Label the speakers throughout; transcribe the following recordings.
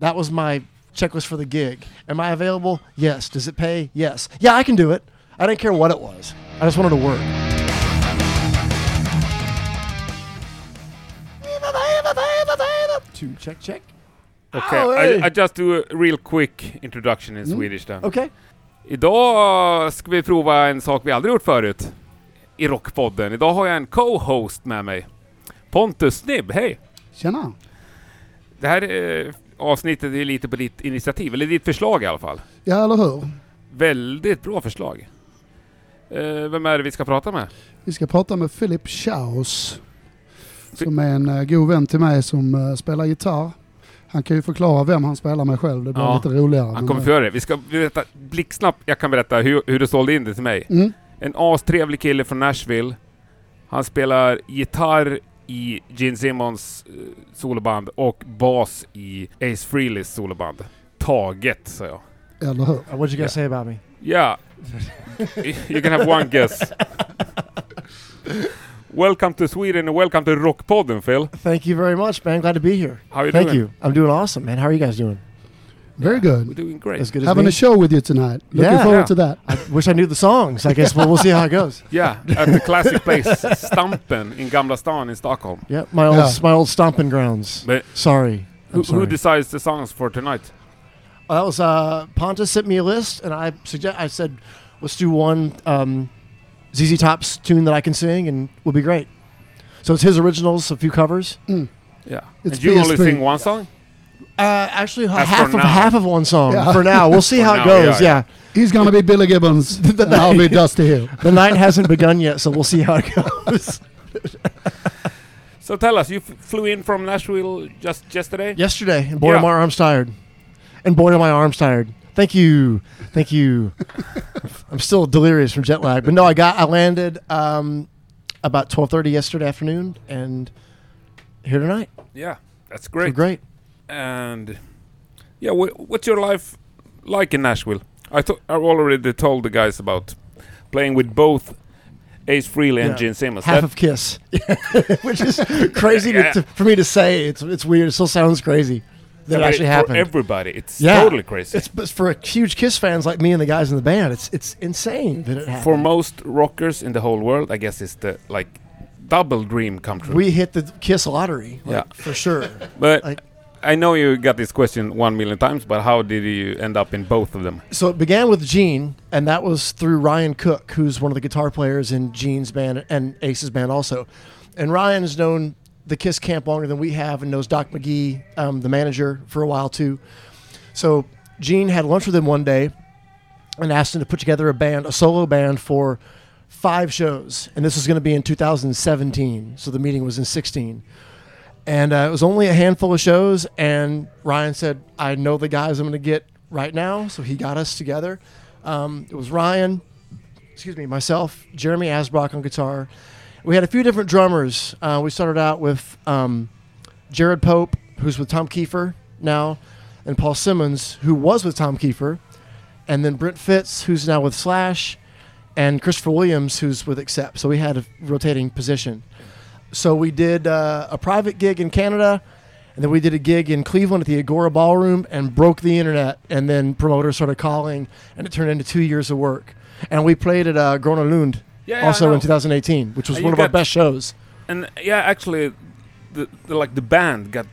Speaker 1: That was my checklist for the gig. Am I available? Yes. Does it pay? Yes. Yeah, I can do it. I didn't care what it was. I just wanted to work. Two check check.
Speaker 2: Okay,
Speaker 1: Oh,
Speaker 2: I,
Speaker 1: hey.
Speaker 2: I just do a real quick introduction in Swedish then.
Speaker 1: Okej.
Speaker 2: Idag ska vi prova en sak vi aldrig gjort förut i Rockpodden. Idag har jag en co-host med mig. Pontus Snibb, hej!
Speaker 3: Tjena!
Speaker 2: Det här eh, avsnittet är lite på ditt initiativ, eller ditt förslag i alla fall.
Speaker 3: Ja, eller hur?
Speaker 2: Väldigt bra förslag. Eh, vem är det vi ska prata med?
Speaker 3: Vi ska prata med Philip Schaus. Som är en uh, god vän till mig som eh, spelar gitarr. Han kan ju förklara vem han spelar med själv, det blir
Speaker 2: Ja.
Speaker 3: lite roligare.
Speaker 2: Han kommer få göra det. Vi ska berätta blixtsnabbt, jag kan berätta hur, hur du sålde in det till mig.
Speaker 3: mm.
Speaker 2: En astrevlig kille från Nashville. Han spelar gitarr i Gene Simmons eh, soloband och bas i Ace Frehleys soloband. Taget, sa jag.
Speaker 3: Eller hur?
Speaker 1: Uh, What you gonna
Speaker 2: Yeah.
Speaker 1: say about me?
Speaker 2: Yeah. you can have one guess. Welcome to Sweden and welcome to Rockpodden, Phil.
Speaker 1: Thank you very much, man. Glad to be here.
Speaker 2: How are you
Speaker 1: Thank
Speaker 2: doing?
Speaker 1: you. I'm doing awesome, man. How are you guys doing?
Speaker 3: Very
Speaker 2: We're
Speaker 3: good.
Speaker 2: doing great.
Speaker 1: As good as
Speaker 3: Having
Speaker 1: me.
Speaker 3: a show with you tonight. Looking
Speaker 1: Yeah.
Speaker 3: forward
Speaker 2: Yeah.
Speaker 3: to that.
Speaker 1: I wish I knew the songs. I guess we'll, we'll see how it goes.
Speaker 2: Yeah, at the classic place, Stampen in Gamla stan in Stockholm.
Speaker 1: Yeah, my old
Speaker 3: Yeah.
Speaker 1: my old stomping grounds.
Speaker 2: But
Speaker 1: Sorry. I'm
Speaker 2: who, who
Speaker 1: sorry.
Speaker 2: decides the songs for tonight?
Speaker 1: Well, that was uh, Pontus sent me a list, and I suggest I said, let's do one um, ZZ Top's tune that I can sing, and we'll be great. So it's his originals, a few covers.
Speaker 2: Yeah.
Speaker 3: It's
Speaker 2: and you only
Speaker 3: PSP.
Speaker 2: sing one song?
Speaker 1: Uh, actually, h-
Speaker 2: That's
Speaker 1: half
Speaker 2: for
Speaker 1: of
Speaker 2: now.
Speaker 1: half of one song
Speaker 3: Yeah.
Speaker 1: for now. We'll see
Speaker 2: For
Speaker 1: how
Speaker 2: now,
Speaker 1: it goes.
Speaker 2: yeah,
Speaker 1: Yeah,
Speaker 3: He's gonna be Billy Gibbons and I'll be Dusty Hill.
Speaker 1: the night hasn't begun yet, so we'll see how it goes.
Speaker 2: So tell us, you f- flew in from Nashville just yesterday?
Speaker 1: Yesterday, and boy,
Speaker 2: Yeah.
Speaker 1: are my arms tired, and boy, are my arms tired. Thank you, thank you. I'm still delirious from jet lag, but no, I got I landed um, about 12:30 yesterday afternoon, and here tonight.
Speaker 2: Yeah, that's
Speaker 1: Great. great.
Speaker 2: great. And yeah, wh- what's your life like in Nashville? I thought I already told the guys about playing with both Ace Frehley and
Speaker 1: Yeah.
Speaker 2: Gene Simmons.
Speaker 1: Half
Speaker 2: That-
Speaker 1: of Kiss, which is crazy
Speaker 2: Yeah.
Speaker 1: to, to, for me to say. It's it's weird. It still sounds crazy that it
Speaker 2: but
Speaker 1: actually
Speaker 2: for
Speaker 1: happened.
Speaker 2: everybody, it's
Speaker 1: Yeah.
Speaker 2: totally crazy.
Speaker 1: it's but for huge Kiss fans like me and the guys in the band. It's it's insane that it happened.
Speaker 2: for most rockers in the whole world, I guess it's the like double dream come true.
Speaker 1: we hit the Kiss lottery, like,
Speaker 2: Yeah.
Speaker 1: for sure.
Speaker 2: but
Speaker 1: like-
Speaker 2: I know you got this question one million times, but how did you end up in both of them?
Speaker 1: so it began with Gene, and that was through Ryan Cook, who's one of the guitar players in Gene's band and Ace's band also. And Ryan has known the Kiss camp longer than we have, and knows Doc McGee, um, the manager, for a while too. So Gene had lunch with him one day, and asked him to put together a band, a solo band for five shows, and this was going to be in 2017. So the meeting was in 16. And uh, it was only a handful of shows. And Ryan said, I know the guys I'm going to get right now. So he got us together. Um, it was Ryan, excuse me, myself, Jeremy Asbrock on guitar. We had a few different drummers. Uh, we started out with um, Jared Pope, who's with Tom Kiefer now, and Paul Simmons, who was with Tom Kiefer, and then Brent Fitz, who's now with Slash, and Christopher Williams, who's with Accept. So we had a rotating position. So we did uh, a private gig in Canada, and then we did a gig in Cleveland at the Agora Ballroom and broke the internet. And then promoters started calling, and it turned into two years of work. And we played at uh, Grona Lund
Speaker 2: Yeah, yeah, I
Speaker 1: also
Speaker 2: know.
Speaker 1: in 2018, which was
Speaker 2: And
Speaker 1: one
Speaker 2: you
Speaker 1: of our
Speaker 2: got-
Speaker 1: best shows.
Speaker 2: And yeah, actually, the, the like the band got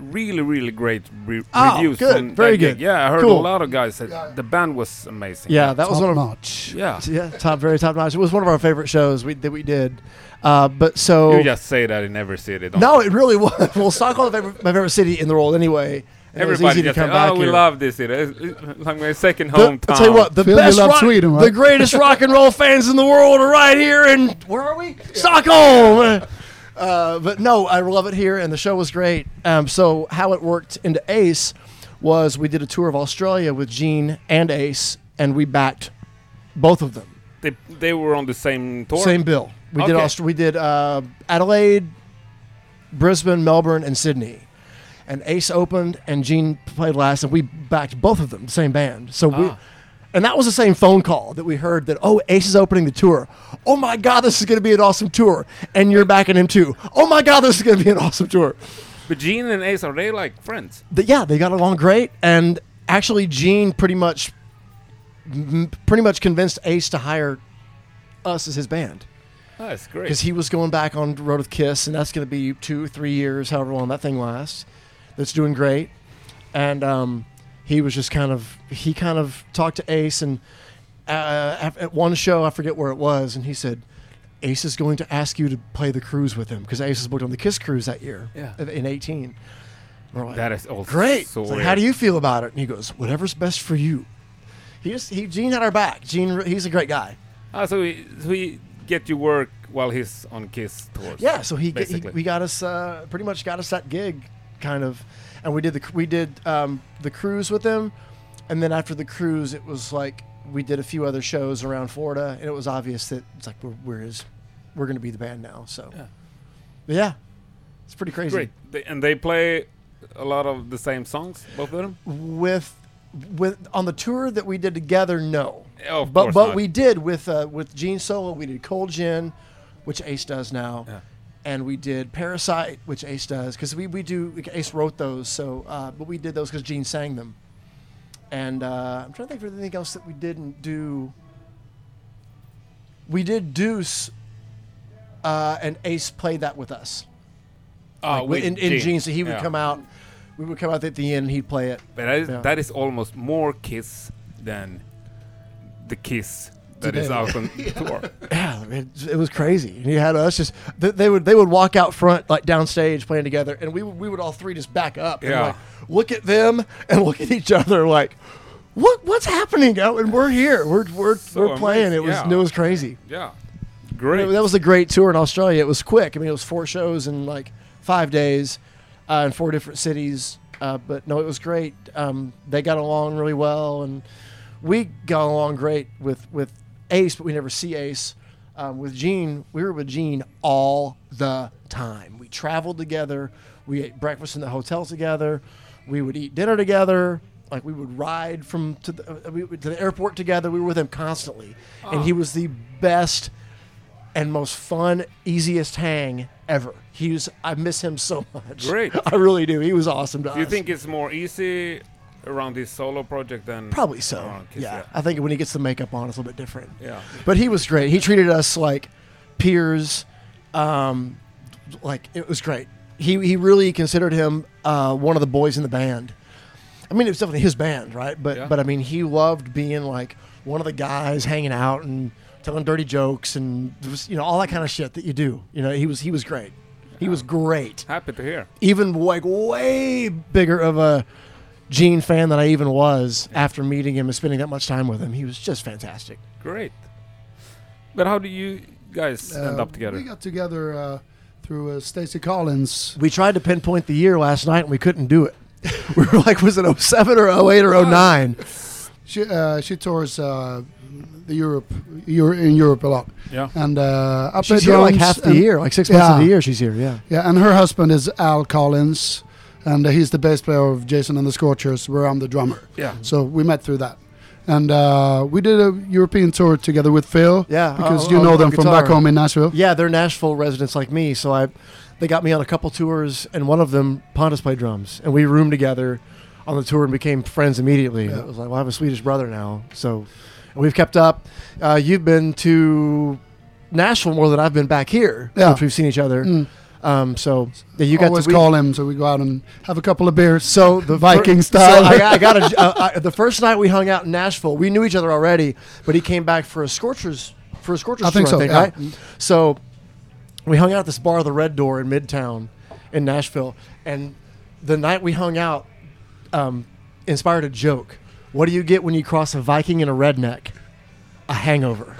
Speaker 2: really really great re-
Speaker 1: Oh,
Speaker 2: reviews.
Speaker 1: good.
Speaker 2: from that
Speaker 1: Very
Speaker 2: gig.
Speaker 1: good.
Speaker 2: Yeah, I heard a
Speaker 1: Cool.
Speaker 2: lot of guys said the band was amazing.
Speaker 1: Yeah, that was one
Speaker 3: Top
Speaker 1: of
Speaker 3: notch.
Speaker 2: yeah.
Speaker 1: yeah, top very top notch. It was one of our favorite shows we, that we did. Uh, but so
Speaker 2: You just say that in every city. Don't
Speaker 1: no,
Speaker 2: you?
Speaker 1: it really was. well, Stockholm's my favorite- my favorite city in the world anyway. and it was
Speaker 2: everybody
Speaker 1: easy to
Speaker 2: just
Speaker 1: come
Speaker 2: say,
Speaker 1: back
Speaker 2: "Oh, we
Speaker 1: here."
Speaker 2: love this city. It's, it's like my second
Speaker 1: The-
Speaker 2: hometown."
Speaker 1: I'll tell you what, the
Speaker 3: Phil, you
Speaker 1: best
Speaker 3: love
Speaker 1: rock,
Speaker 3: Sweden, right?
Speaker 1: the greatest rock and roll fans in the world are right here in where are we? Stockholm. Uh, but no, I love it here, and the show was great. Um, so how it worked into Ace was we did a tour of Australia with Gene and Ace, and we backed both of them.
Speaker 2: they, they were on the same tour.
Speaker 1: Same bill. We did
Speaker 2: Okay.
Speaker 1: Aust- we did uh, Adelaide, Brisbane, Melbourne, and Sydney. And Ace opened, and Gene played last, and we backed both of them, the same band. So we,
Speaker 2: Ah.
Speaker 1: and that was the same phone call that we heard that oh Ace is opening the tour. Oh my God, this is going to be an awesome tour, and you're backing him too. Oh my God, this is going to be an awesome tour.
Speaker 2: But Gene and Ace, are they like friends?
Speaker 1: Th- yeah, they got along great, and actually, Gene pretty much, m- pretty much convinced Ace to hire us as his band
Speaker 2: That's great.
Speaker 1: because he was going back on Road with Kiss, and that's going to be two, three years, however long that thing lasts. That's doing great, and um, he was just kind of he kind of talked to Ace, and uh, af- at one show I forget where it was, and he said. Ace is going to ask you to play the cruise with him because Ace was booked on the Kiss cruise that year
Speaker 2: Yeah.
Speaker 1: in 18. And we're like,
Speaker 2: That is all
Speaker 1: great.
Speaker 2: So
Speaker 1: It's like, how do you feel about it? And he goes, whatever's best for you. He just, he, Gene had our back. Gene, re- he's a great guy.
Speaker 2: Ah, so he, so he get you work while he's on Kiss tours.
Speaker 1: Yeah, so he, he
Speaker 2: Basically.
Speaker 1: we got us uh, pretty much got us that gig, kind of, and we did the we did um, the cruise with them, and then after the cruise, it was like we did a few other shows around Florida, and it was obvious that it's like we're we're his, we're gonna be the band now. So,
Speaker 2: Yeah.
Speaker 1: But yeah it's pretty crazy.
Speaker 2: Great. They, and they play a lot of the same songs, both of them.
Speaker 1: With with on the tour that we did together, no.
Speaker 2: Oh, of
Speaker 1: but
Speaker 2: course
Speaker 1: but
Speaker 2: not.
Speaker 1: we did with uh, with Gene Solo. We did Cold Gin, which Ace does now,
Speaker 2: Yeah.
Speaker 1: and we did Parasite, which Ace does because we we do like, Ace wrote those. So uh, but we did those because Gene sang them. And uh, I'm trying to think of anything else that we didn't do. We did Deuce, uh, and Ace played that with us.
Speaker 2: Ah,
Speaker 1: Like,
Speaker 2: with
Speaker 1: in, in
Speaker 2: Gene.
Speaker 1: Gene, so he would
Speaker 2: Yeah.
Speaker 1: come out. We would come out at the end, and he'd play it.
Speaker 2: But that is,
Speaker 1: Yeah.
Speaker 2: that is almost more Kiss than the Kiss that is
Speaker 1: Today.
Speaker 2: out on tour.
Speaker 1: Yeah, it, it was crazy. And you had us just they, they would they would walk out front like downstage playing together, and we would- we would all three just back up and
Speaker 2: Yeah.
Speaker 1: like look at them and look at each other like, what what's happening? Oh, and we're here. We're we're, we're playing.
Speaker 2: amazing.
Speaker 1: It was
Speaker 2: Yeah.
Speaker 1: it was crazy.
Speaker 2: Yeah, great.
Speaker 1: That was a great tour in Australia. It was quick. I mean, it was four shows in like five days, uh, in four different cities. Uh, but no, it was great. Um, they got along really well, and we got along great with with Ace, but we never see Ace. Um, with Gene, we were with Gene all the time. We traveled together. We ate breakfast in the hotel together. We would eat dinner together. Like we would ride from to the, uh, we, would- to the airport together. We were with him constantly, and he was the best and most fun, easiest hang ever. He was, I miss him so much.
Speaker 2: Great.
Speaker 1: I really do. He was awesome to us.
Speaker 2: Do you think it's more easy around his solo project than
Speaker 1: Probably so.
Speaker 2: around Kiss?
Speaker 1: yeah. I think when he gets the makeup on, it's a little bit different.
Speaker 2: Yeah.
Speaker 1: But he was great. He treated us like peers. Um, like it was great. He he really considered him uh, one of the boys in the band. I mean, it was definitely his band, right? But
Speaker 2: Yeah.
Speaker 1: but I mean, he loved being like one of the guys hanging out and telling dirty jokes and just, you know all that kind of shit that you do. You know, he was he was great. He was great
Speaker 2: Happy to hear.
Speaker 1: even like way bigger of a Gene fan than I even was after meeting him and spending that much time with him. He was just fantastic.
Speaker 2: Great. But how do you guys end
Speaker 3: Uh,
Speaker 2: up together?
Speaker 3: We got together uh, through uh, Stacy Collins.
Speaker 1: We tried to pinpoint the year last night and we couldn't do it. We were like, was it 07 or 08 or 09?
Speaker 3: She uh, she tours uh, the Europe Euro, in Europe a lot.
Speaker 2: Yeah.
Speaker 3: And uh, I play
Speaker 1: She's here like
Speaker 3: drums
Speaker 1: half the
Speaker 3: and-
Speaker 1: year, like six months of
Speaker 3: Yeah.
Speaker 1: the year she's here, yeah.
Speaker 3: Yeah, and her husband is Al Collins, and he's the bass player of Jason and the Scorchers, where I'm the drummer.
Speaker 2: yeah.
Speaker 3: So we met through that. And uh, we did a European tour together with Phil.
Speaker 1: Yeah, oh,
Speaker 3: Because
Speaker 1: on-
Speaker 3: you
Speaker 1: on-
Speaker 3: know
Speaker 1: on
Speaker 3: them from back
Speaker 1: guitar.
Speaker 3: home in Nashville.
Speaker 1: Yeah, they're Nashville residents like me, so I, they got me on a couple tours, and one of them, Pontus played drums, and we roomed together on the tour and became friends immediately.
Speaker 3: Yeah.
Speaker 1: It was like, well, I have a Swedish brother now, so and we've kept up. Uh, you've been to Nashville more than I've been back here,
Speaker 3: Yeah.
Speaker 1: which we've seen each other.
Speaker 3: Mm.
Speaker 1: Um, so yeah, you got
Speaker 3: Always
Speaker 1: to, we-
Speaker 3: call him, so we go out and have a couple of beers.
Speaker 1: so the
Speaker 3: Viking
Speaker 1: fir-
Speaker 3: style.
Speaker 1: So I, got- I got a, uh, I, the first night we hung out in Nashville. We knew each other already, but he came back for a Scorchers for a Scorchers
Speaker 3: I think
Speaker 1: tour,
Speaker 3: so,
Speaker 1: I think,
Speaker 3: yeah.
Speaker 1: right? So we hung out at this bar, the Red Door in Midtown, in Nashville, and the night we hung out, um, inspired a joke. What do you get when you cross a Viking and a redneck? A hangover.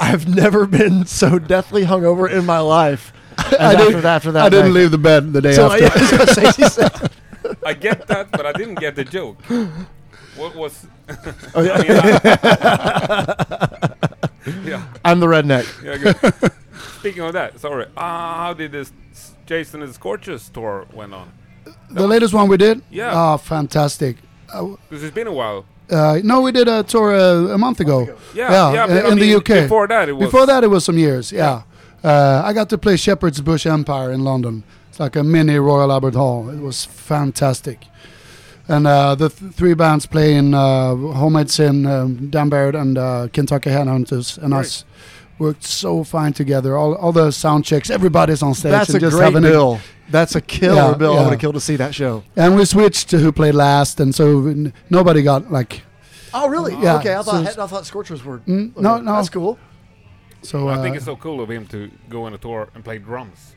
Speaker 1: I've never been so deathly hungover in my life. As after,
Speaker 3: didn't-
Speaker 1: that, after that,
Speaker 3: I didn't
Speaker 1: night.
Speaker 3: leave the bed the day
Speaker 1: So,
Speaker 3: after.
Speaker 1: yeah, I was gonna say, she said-
Speaker 2: I get that, but I didn't get the joke. What was?
Speaker 1: Oh, yeah.
Speaker 2: I mean, I- yeah.
Speaker 1: I'm the redneck.
Speaker 2: Yeah, good. Speaking of that, sorry. Uh, how did this s- Jason and the Scorchers tour went on?
Speaker 3: The latest one we did?
Speaker 2: Yeah.
Speaker 3: Ah, fantastic. Uh,
Speaker 2: Because it's been a while.
Speaker 3: uh, no, we did a tour uh, a month ago.
Speaker 2: Yeah, yeah,
Speaker 3: uh,
Speaker 2: but I
Speaker 3: in the
Speaker 2: mean,
Speaker 3: UK.
Speaker 2: before that it was-
Speaker 3: Before that, it was some years. Yeah, uh, I got to play Shepherd's Bush Empire in London. It's like a mini Royal Albert Hall. It was fantastic. And uh, the th- three bands playing uh, Homemade Sin, um, Dan Baird, and uh, Kentucky Headhunters, and
Speaker 2: Right.
Speaker 3: us worked so fine together. All, all the sound checks, everybody's on stage.
Speaker 1: That's
Speaker 3: and
Speaker 1: a
Speaker 3: just
Speaker 1: great
Speaker 3: having a-
Speaker 1: bill. That's a killer
Speaker 3: Yeah,
Speaker 1: bill. I
Speaker 3: yeah.
Speaker 1: would have killed to see that show.
Speaker 3: and we switched to who played last, and so n- nobody got like.
Speaker 1: Oh, really?
Speaker 3: Yeah,
Speaker 1: Okay, I
Speaker 3: so
Speaker 1: thought
Speaker 3: it's-
Speaker 1: I thought Scorchers were.
Speaker 3: Mm, no,
Speaker 1: okay,
Speaker 3: no.
Speaker 1: That's cool.
Speaker 3: So
Speaker 2: I think it's
Speaker 3: uh,
Speaker 2: so cool of him to go on a tour and play drums.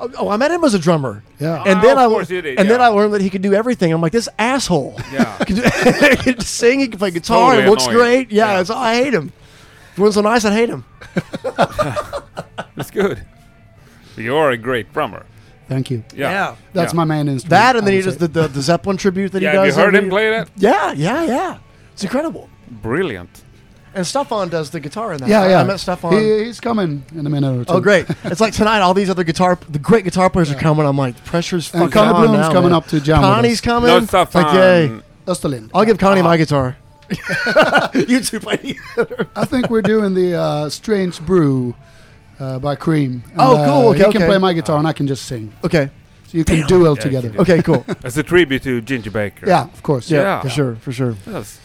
Speaker 1: Oh, oh, I met him as a drummer,
Speaker 3: yeah,
Speaker 1: and
Speaker 2: Ah,
Speaker 1: then
Speaker 2: of
Speaker 1: I
Speaker 2: course you did,
Speaker 1: and then
Speaker 2: yeah.
Speaker 1: I learned that he could do everything. I'm like this asshole.
Speaker 2: Yeah.
Speaker 1: He can sing, he can play guitar,
Speaker 2: Totally
Speaker 1: it looks
Speaker 2: annoying.
Speaker 1: great. Yeah,
Speaker 2: Yeah.
Speaker 1: It's, I hate him. If it wasn't so nice, I'd hate him.
Speaker 3: Mm,
Speaker 2: That's good. You are a great drummer.
Speaker 3: thank you.
Speaker 2: Yeah.
Speaker 1: Yeah.
Speaker 3: That's
Speaker 2: Yeah.
Speaker 3: my main instrument.
Speaker 1: That and then
Speaker 3: I
Speaker 1: he
Speaker 3: would
Speaker 1: does
Speaker 3: say.
Speaker 1: the, the, the Zeppelin tribute that
Speaker 2: Yeah,
Speaker 1: he does.
Speaker 2: have you heard
Speaker 1: every-
Speaker 2: him play that?
Speaker 1: Yeah, yeah, yeah. It's incredible.
Speaker 2: Brilliant.
Speaker 1: And Stefan does the guitar in that.
Speaker 3: yeah,
Speaker 1: I-
Speaker 3: yeah.
Speaker 1: I met Stefan.
Speaker 3: He, he's coming in a minute or two.
Speaker 1: Oh, great. it's like tonight, all these other guitar, the great guitar players are coming. I'm like, the pressure's fucking
Speaker 3: And Connie
Speaker 1: on
Speaker 3: Bloom's
Speaker 1: now,
Speaker 3: coming
Speaker 1: man.
Speaker 3: up to jam. with
Speaker 1: Connie's
Speaker 3: us. Ah.
Speaker 1: coming.
Speaker 2: No stuff.
Speaker 1: Like, yay.
Speaker 3: Österlind.
Speaker 1: I'll give Connie my guitar. you two play
Speaker 3: I think we're doing the uh, Strange Brew uh, by Cream. And,
Speaker 1: Oh, cool,
Speaker 3: uh,
Speaker 1: okay,
Speaker 3: he can
Speaker 1: okay. Oh,
Speaker 3: play my guitar and I can just sing.
Speaker 1: Okay.
Speaker 3: So you can duel
Speaker 2: Yeah,
Speaker 3: together.
Speaker 2: you can
Speaker 1: Okay, cool.
Speaker 2: As a tribute to Ginger Baker.
Speaker 3: Yeah, of course.
Speaker 1: Yeah,
Speaker 2: Yeah.
Speaker 1: for sure, for sure.
Speaker 2: That's,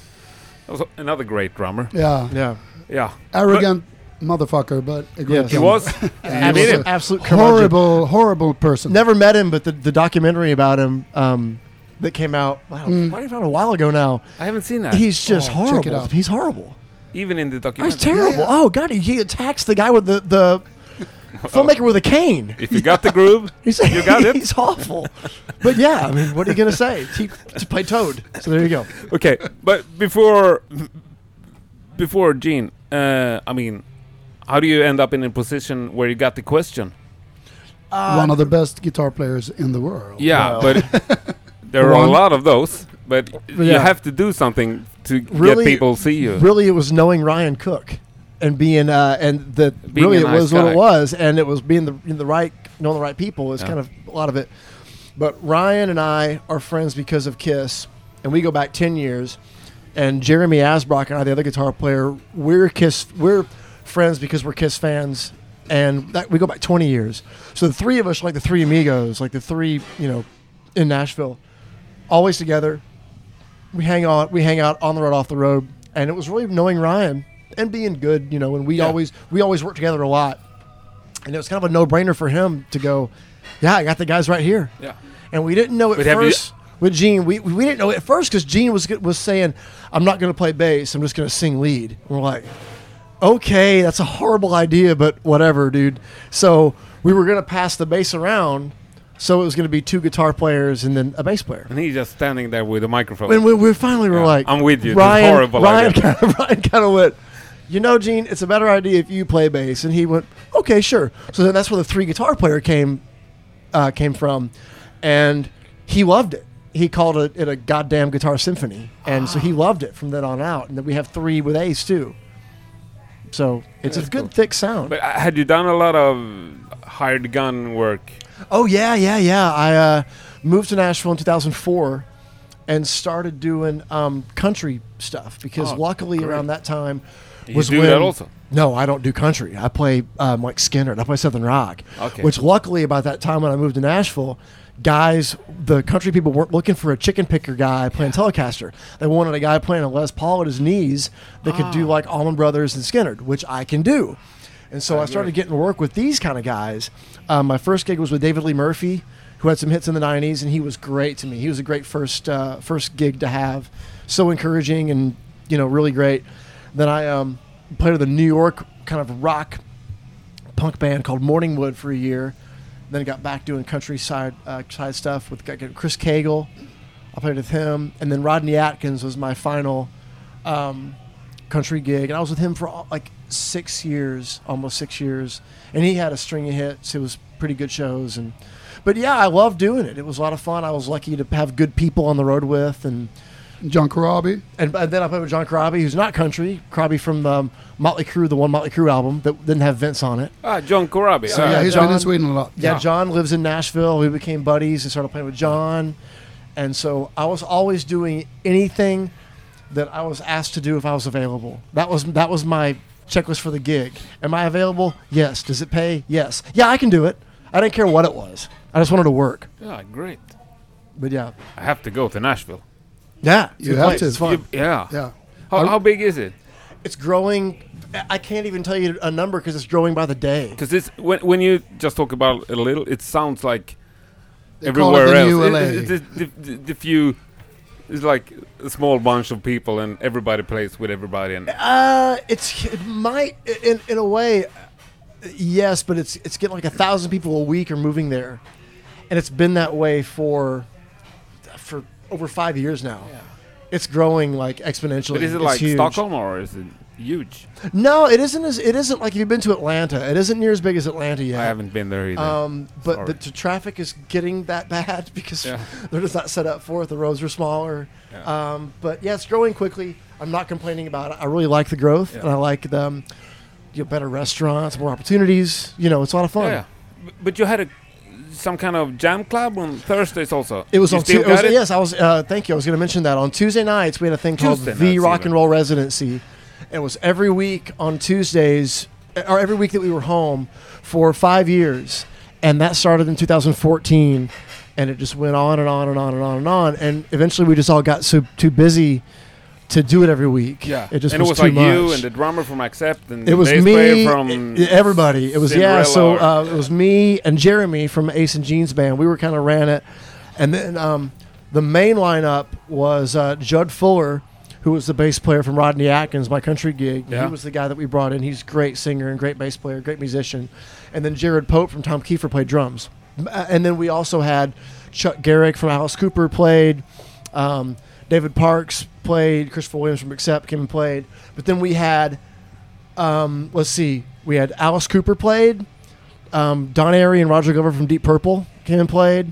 Speaker 2: that was another great drummer.
Speaker 3: Yeah.
Speaker 1: Yeah.
Speaker 2: Yeah.
Speaker 3: Arrogant motherfucker, but a
Speaker 1: Yes.
Speaker 3: great
Speaker 2: He
Speaker 1: Yeah.
Speaker 3: drummer.
Speaker 2: was.
Speaker 3: Yeah,
Speaker 2: you mean it.
Speaker 3: he was
Speaker 1: Absolute, absolute curmudgeon.
Speaker 3: horrible, horrible person.
Speaker 1: Never met him, but the, the documentary about him um, that came out wow,
Speaker 3: Mm.
Speaker 1: quite a while ago now.
Speaker 2: I haven't seen that.
Speaker 1: He's just
Speaker 3: Oh, check
Speaker 1: horrible.
Speaker 3: it out.
Speaker 1: He's horrible.
Speaker 2: Even in the
Speaker 1: He's
Speaker 2: documentary.
Speaker 1: terrible.
Speaker 3: Yeah.
Speaker 1: Oh god, he, he attacks the guy with the the filmmaker with a cane.
Speaker 2: If you got the groove,
Speaker 1: He's,
Speaker 2: You got it?
Speaker 1: He's awful. But yeah, I mean, what are you gonna say? He to play Toad. So there you go.
Speaker 2: okay, but before before Gene, uh, I mean, how do you end up in a position where you got the question?
Speaker 3: One of the best guitar players in the world.
Speaker 2: Yeah,
Speaker 1: Wow.
Speaker 2: but there are a
Speaker 3: One.
Speaker 2: lot of those. But you
Speaker 1: yeah.
Speaker 2: have to do something to
Speaker 1: Really-
Speaker 2: get people see you.
Speaker 1: Really, it was knowing Ryan Cook and being uh, and the
Speaker 2: Being
Speaker 1: really
Speaker 2: a
Speaker 1: it
Speaker 2: nice
Speaker 1: was what
Speaker 2: guy.
Speaker 1: it was, and it was being the in the right knowing the right people is
Speaker 2: Yeah.
Speaker 1: kind of a lot of it. But Ryan and I are friends because of Kiss, and we go back ten years. And Jeremy Asbrock and I, the other guitar player, we're Kiss, we're friends because we're Kiss fans, and that, we go back twenty years. So the three of us are like the three amigos, like the three you know, in Nashville, always together we hang out we hang out on the road off the road and it was really knowing ryan and being good you know and we always we always work together a lot and it was kind of a no-brainer for him to go yeah i got the guys right here
Speaker 2: yeah.
Speaker 1: and we didn't know at
Speaker 2: But have you-
Speaker 1: first with Gene, we, we didn't know at first because Gene was was saying, "I'm not going to play bass. I'm just going to sing lead." And we're like, "Okay, that's a horrible idea, but whatever, dude." So we were going to pass the bass around, so it was going to be two guitar players and then a bass player.
Speaker 2: And he's just standing there with a microphone.
Speaker 1: And we, we finally were
Speaker 2: Yeah,
Speaker 1: like,
Speaker 2: I'm with you. This is
Speaker 1: Ryan,
Speaker 2: horrible
Speaker 1: Ryan,
Speaker 2: idea.
Speaker 1: kind of, Ryan kind of went, you know, Gene, it's a better idea if you play bass. And he went, okay, sure. So then that's where the three guitar player came uh, came from, and he loved it. He called it, it a goddamn guitar symphony, and so he
Speaker 2: Ah.
Speaker 1: loved it from then on out. And then we have three with Ace too. So it's a
Speaker 2: That's
Speaker 1: good
Speaker 2: cool.
Speaker 1: thick sound.
Speaker 2: But uh, had you done a lot of hired gun work?
Speaker 1: Oh yeah, yeah, yeah. I uh, moved to Nashville in 2004 and started doing um, country stuff because
Speaker 2: Oh,
Speaker 1: luckily
Speaker 2: great.
Speaker 1: around that time
Speaker 2: You
Speaker 1: was
Speaker 2: do
Speaker 1: when
Speaker 2: that also?
Speaker 1: no, I don't do country. I play um, like Skinner and I play Southern Rock.
Speaker 2: Okay.
Speaker 1: Which luckily about that time when I moved to Nashville, guys, the country people weren't looking for a chicken picker guy playing Telecaster. They wanted a guy playing a Les Paul at his knees that could do like Allman Brothers and Skinner, which I can do. And so I started getting to work with these kind of guys. Um, my first gig was with David Lee Murphy, who had some hits in the '90s, and he was great to me. He was a great first uh, first gig to have, so encouraging and you know really great. Then I um, played with a New York kind of rock punk band called Morningwood for a year. Then I got back doing countryside uh, side stuff with got- got Chris Cagle. I played with him, and then Rodney Atkins was my final um, country gig, and I was with him for all- like six years, almost six years, and he had a string of hits. It was pretty good shows, and but yeah, I loved doing it. It was a lot of fun. I was lucky to have good people on the road with, and
Speaker 3: John Corabi.
Speaker 1: and, and then I played with John Corabi, who's not country. Corabi from um, Motley Crue, the one Motley Crue album that didn't have Vince on it.
Speaker 2: Ah, John Corabi.
Speaker 1: So,
Speaker 2: ah,
Speaker 3: yeah,
Speaker 1: yeah,
Speaker 3: he's been
Speaker 1: John-
Speaker 3: in Sweden a lot.
Speaker 1: Yeah,
Speaker 2: Yeah.
Speaker 1: John lives in Nashville. We became buddies and started playing with John. And so I was always doing anything that I was asked to do if I was available. That was that was my checklist for the gig. Am I available? Yes. Does it pay? Yes. Yeah, I can do it. I didn't care what it was. I just wanted to work.
Speaker 2: Yeah, Ah, great.
Speaker 1: But yeah,
Speaker 2: I have to go to Nashville.
Speaker 1: yeah,
Speaker 3: You have to.
Speaker 1: It's fun.
Speaker 2: You- yeah.
Speaker 3: Yeah.
Speaker 2: How, how big is it?
Speaker 1: It's growing. I- I can't even tell you a number because it's growing by the day.
Speaker 2: Because it's when when you just talk about a little, it sounds like
Speaker 3: They call
Speaker 2: everywhere
Speaker 3: it the
Speaker 2: else.
Speaker 3: New
Speaker 2: It-
Speaker 3: LA.
Speaker 2: it- it- the, the, the few it's like a small bunch of people and everybody plays with everybody. And
Speaker 1: Uh, it's it might in in a way, yes, but it's it's getting like a thousand people a week are moving there, and it's been that way for for over five years now. It's growing like exponentially.
Speaker 2: but is it
Speaker 1: It's
Speaker 2: like
Speaker 1: huge.
Speaker 2: Stockholm or is it huge?
Speaker 1: No, it isn't as it isn't like if you've been to Atlanta, it isn't near as big as Atlanta yet.
Speaker 2: I haven't been there either.
Speaker 1: Um, but
Speaker 2: Sorry.
Speaker 1: the t- traffic is getting that bad because
Speaker 2: Yeah.
Speaker 1: they're just not set up for it. The roads are smaller.
Speaker 2: Yeah.
Speaker 1: Um, but yeah, it's growing quickly. I'm not complaining about it. I really like the growth, and I like the um, you know, better restaurants, more opportunities. You know, it's a lot of
Speaker 2: yeah,
Speaker 1: fun.
Speaker 2: yeah. B- But you had a some kind of jam club on Thursdays also.
Speaker 1: It was
Speaker 2: you
Speaker 1: on
Speaker 2: still
Speaker 1: Tu- it was-
Speaker 2: got it?
Speaker 1: yes, I was. Uh, thank you. I was going to mention that on Tuesday nights we had a thing
Speaker 2: Tuesday
Speaker 1: called the
Speaker 2: nights
Speaker 1: Rock
Speaker 2: even.
Speaker 1: and Roll Residency. It was every week on Tuesdays, uh, or every week that we were home for five years, and that started in 2014, and it just went on and on and on and on and on, and eventually we just all got so too busy to do it every week.
Speaker 2: Yeah,
Speaker 1: it just
Speaker 2: and
Speaker 1: was,
Speaker 2: it was
Speaker 1: too
Speaker 2: like
Speaker 1: much.
Speaker 2: you and the drummer from Accept and
Speaker 1: It
Speaker 2: the
Speaker 1: was
Speaker 2: bass
Speaker 1: me,
Speaker 2: player from
Speaker 1: i- everybody. It was yeah. So
Speaker 2: Cinderella
Speaker 1: uh, it was me and Jeremy from Ace and Jeans Band. We were kind of ran it, and then um, the main lineup was uh, Judd Fuller, who was the bass player from Rodney Atkins, my country gig.
Speaker 2: Yeah.
Speaker 1: He was the guy that we brought in. He's a great singer and great bass player, great musician. And then Jared Pope from Tom Kiefer played drums. M- uh, And then we also had Chuck Garrick from Alice Cooper played. Um, David Parks played. Christopher Williams from Accept came and played. But then we had um, let's see, we had Alice Cooper played, um, Don Airy and Roger Glover from Deep Purple came and played.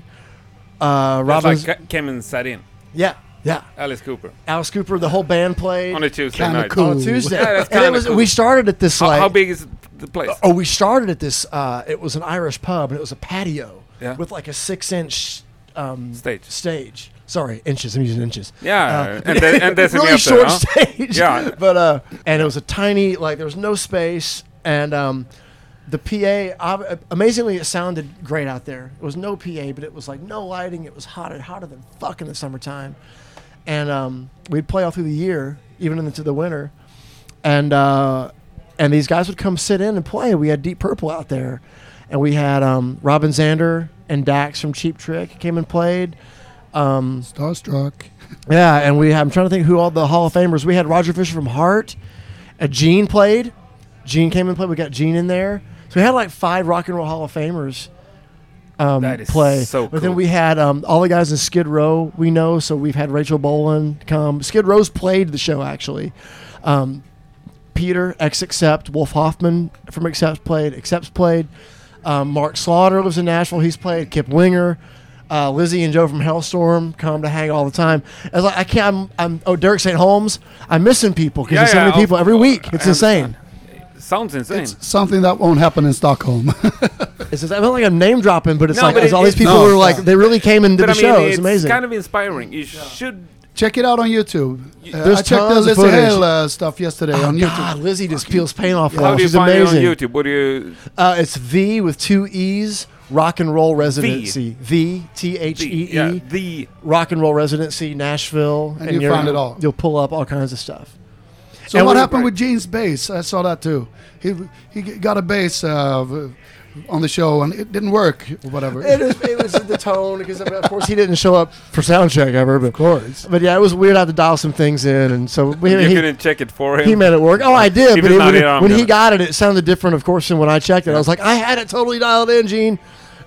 Speaker 1: Uh,
Speaker 2: That's
Speaker 1: Robin,
Speaker 2: like ca- came and sat in.
Speaker 1: yeah, yeah,
Speaker 2: Alice Cooper
Speaker 1: Alice Cooper, the whole band played
Speaker 2: on a Tuesday
Speaker 3: Kinda
Speaker 2: night.
Speaker 3: cool.
Speaker 1: on a Tuesday.
Speaker 2: Yeah, that's
Speaker 1: and
Speaker 2: kinda
Speaker 1: it was
Speaker 2: cool.
Speaker 1: we started at this
Speaker 2: How,
Speaker 1: like
Speaker 2: how big is the place?
Speaker 1: oh we started at this uh, it was an Irish pub and it was a patio
Speaker 2: Yeah.
Speaker 1: with like a six inch um,
Speaker 2: Stage.
Speaker 1: stage. Sorry, inches. I'm using inches.
Speaker 2: Yeah,
Speaker 1: Uh,
Speaker 2: and then and that's
Speaker 1: really
Speaker 2: up
Speaker 1: short
Speaker 2: there, huh?
Speaker 1: stage.
Speaker 2: Yeah.
Speaker 1: but uh, and it was a tiny like there was no space, and um, the PA ob- amazingly it sounded great out there. It was no PA, but it was like no lighting. It was hotter, hotter than fuck in the summertime, and um, we'd play all through the year, even into the winter, and uh, and these guys would come sit in and play. We had Deep Purple out there, and we had um, Robin Zander and Dax from Cheap Trick came and played. Um,
Speaker 3: Starstruck.
Speaker 1: yeah, and we I'm trying to think who all the Hall of Famers. We had Roger Fisher from Heart. Uh, Gene played. Gene came and played. We got Gene in there. So we had like five Rock and Roll Hall of Famers um,
Speaker 2: That is
Speaker 1: play.
Speaker 2: so
Speaker 1: But then
Speaker 2: cool.
Speaker 1: we had um, all the guys in Skid Row we know. So we've had Rachel Bolan come. Skid Row's played the show actually. Um, Peter X Accept, Wolf Hoffman from Accept played. Accepts played. Um, Mark Slaughter lives in Nashville. He's played. Kip Winger, uh, Lizzie and Joe from Hellstorm come to hang all the time. As I, I can't, I'm, I'm oh Derek St. Holmes. I'm missing people because
Speaker 2: Yeah,
Speaker 1: there's so
Speaker 2: yeah,
Speaker 1: many
Speaker 2: I'll-
Speaker 1: people every week.
Speaker 2: I
Speaker 1: It's insane.
Speaker 2: Sounds insane.
Speaker 3: It's something that won't happen in Stockholm.
Speaker 1: It's just, I feel like I'm name dropping, but it's
Speaker 2: No,
Speaker 1: like
Speaker 2: but
Speaker 1: it's
Speaker 2: it-
Speaker 1: all these
Speaker 2: it's-
Speaker 1: people
Speaker 3: No,
Speaker 1: who are like
Speaker 3: yeah.
Speaker 1: they really came and did
Speaker 2: but
Speaker 1: the
Speaker 2: I mean,
Speaker 1: show.
Speaker 2: it's
Speaker 1: It's amazing.
Speaker 2: kind of inspiring. You should.
Speaker 3: Check it out on YouTube. Uh,
Speaker 1: There's
Speaker 3: I checked the
Speaker 1: tons of
Speaker 3: Lizzie
Speaker 1: footage.
Speaker 3: Hale uh, stuff yesterday
Speaker 1: Oh,
Speaker 3: on
Speaker 1: God,
Speaker 3: YouTube.
Speaker 1: Lizzie just peels paint off
Speaker 2: How
Speaker 1: walls.
Speaker 2: do you
Speaker 1: She's
Speaker 2: find
Speaker 1: amazing.
Speaker 2: it on YouTube? What do you?
Speaker 1: Uh, it's V with two E's. Rock and Roll Residency. V T H
Speaker 2: The,
Speaker 1: E
Speaker 2: yeah,
Speaker 1: E.
Speaker 2: the
Speaker 1: Rock and Roll Residency, Nashville,
Speaker 3: And you'll
Speaker 1: you're-
Speaker 3: find it all.
Speaker 1: You'll pull up all kinds of stuff.
Speaker 3: So
Speaker 1: and
Speaker 3: what
Speaker 1: we-
Speaker 3: happened with Gene's bass? I saw that too. He he g- got a bass uh, v- on the show and it didn't work. Or whatever.
Speaker 1: It, is, it was the tone because of course he didn't show up for sound check ever, but of
Speaker 3: course.
Speaker 1: But yeah, it was weird. I had to dial some things in, and so we,
Speaker 2: you
Speaker 1: he,
Speaker 2: couldn't check it for him.
Speaker 1: he made it work. Oh, I did,
Speaker 2: If
Speaker 1: but
Speaker 2: it's
Speaker 1: it-
Speaker 2: not
Speaker 1: when,
Speaker 2: in, I'm
Speaker 1: when he
Speaker 2: doing it.
Speaker 1: got it, it sounded different, of course, than when I checked it. I was like, I had it totally dialed in, Gene.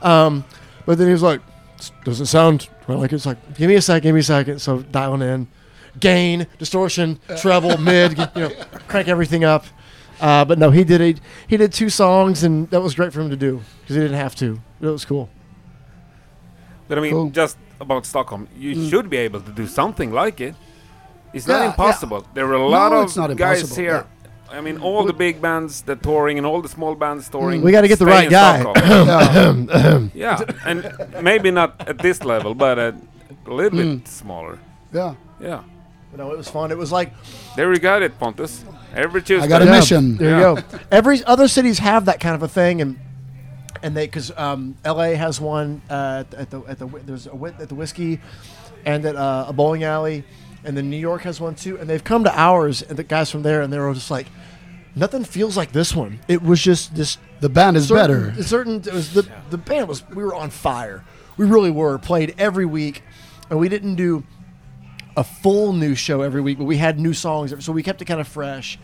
Speaker 1: Um, but then he was like, "This doesn't sound right. like it's like, give me a second, give me a second. So dialing in, gain, distortion, treble, mid, you know, crank everything up. Uh, but no, he did he, he did two songs, and that was great for him to do because he didn't have to. It was cool.
Speaker 2: But I mean,
Speaker 3: Cool. Mm.
Speaker 2: just about Stockholm, you should be able to do something like it. It's not
Speaker 3: Yeah,
Speaker 2: impossible. There are a lot
Speaker 3: No, it's
Speaker 2: of
Speaker 3: not
Speaker 2: guys
Speaker 3: impossible,
Speaker 2: here. I mean, all the big bands that touring and all the small
Speaker 3: Mm.
Speaker 2: bands touring.
Speaker 1: We gotta get the
Speaker 2: stay
Speaker 1: right
Speaker 2: in
Speaker 1: guy.
Speaker 2: Stockholm. yeah,
Speaker 3: yeah.
Speaker 2: and maybe not at this level, but a little
Speaker 3: Mm.
Speaker 2: bit smaller.
Speaker 3: yeah.
Speaker 2: Yeah,
Speaker 1: But no, it was fun. It was like
Speaker 2: there you got it, Pontus. Every Tuesday.
Speaker 3: got a
Speaker 1: Yeah,
Speaker 3: mission.
Speaker 1: There
Speaker 2: Yeah.
Speaker 1: you go. Every other cities have that kind of a thing, and and they because um, L.A. has one uh, at the at the whi- there's a whi- at the whiskey, and at uh, a bowling alley, and then New York has one too. And they've come to ours, and the guys from there, and they were just like, nothing feels like this one. It was just this
Speaker 3: The band is
Speaker 1: certain,
Speaker 3: better.
Speaker 1: Certain it was the the band was we were on fire. We really were played every week, and we didn't do a full new show every week, but we had new songs, so we kept it kind of fresh.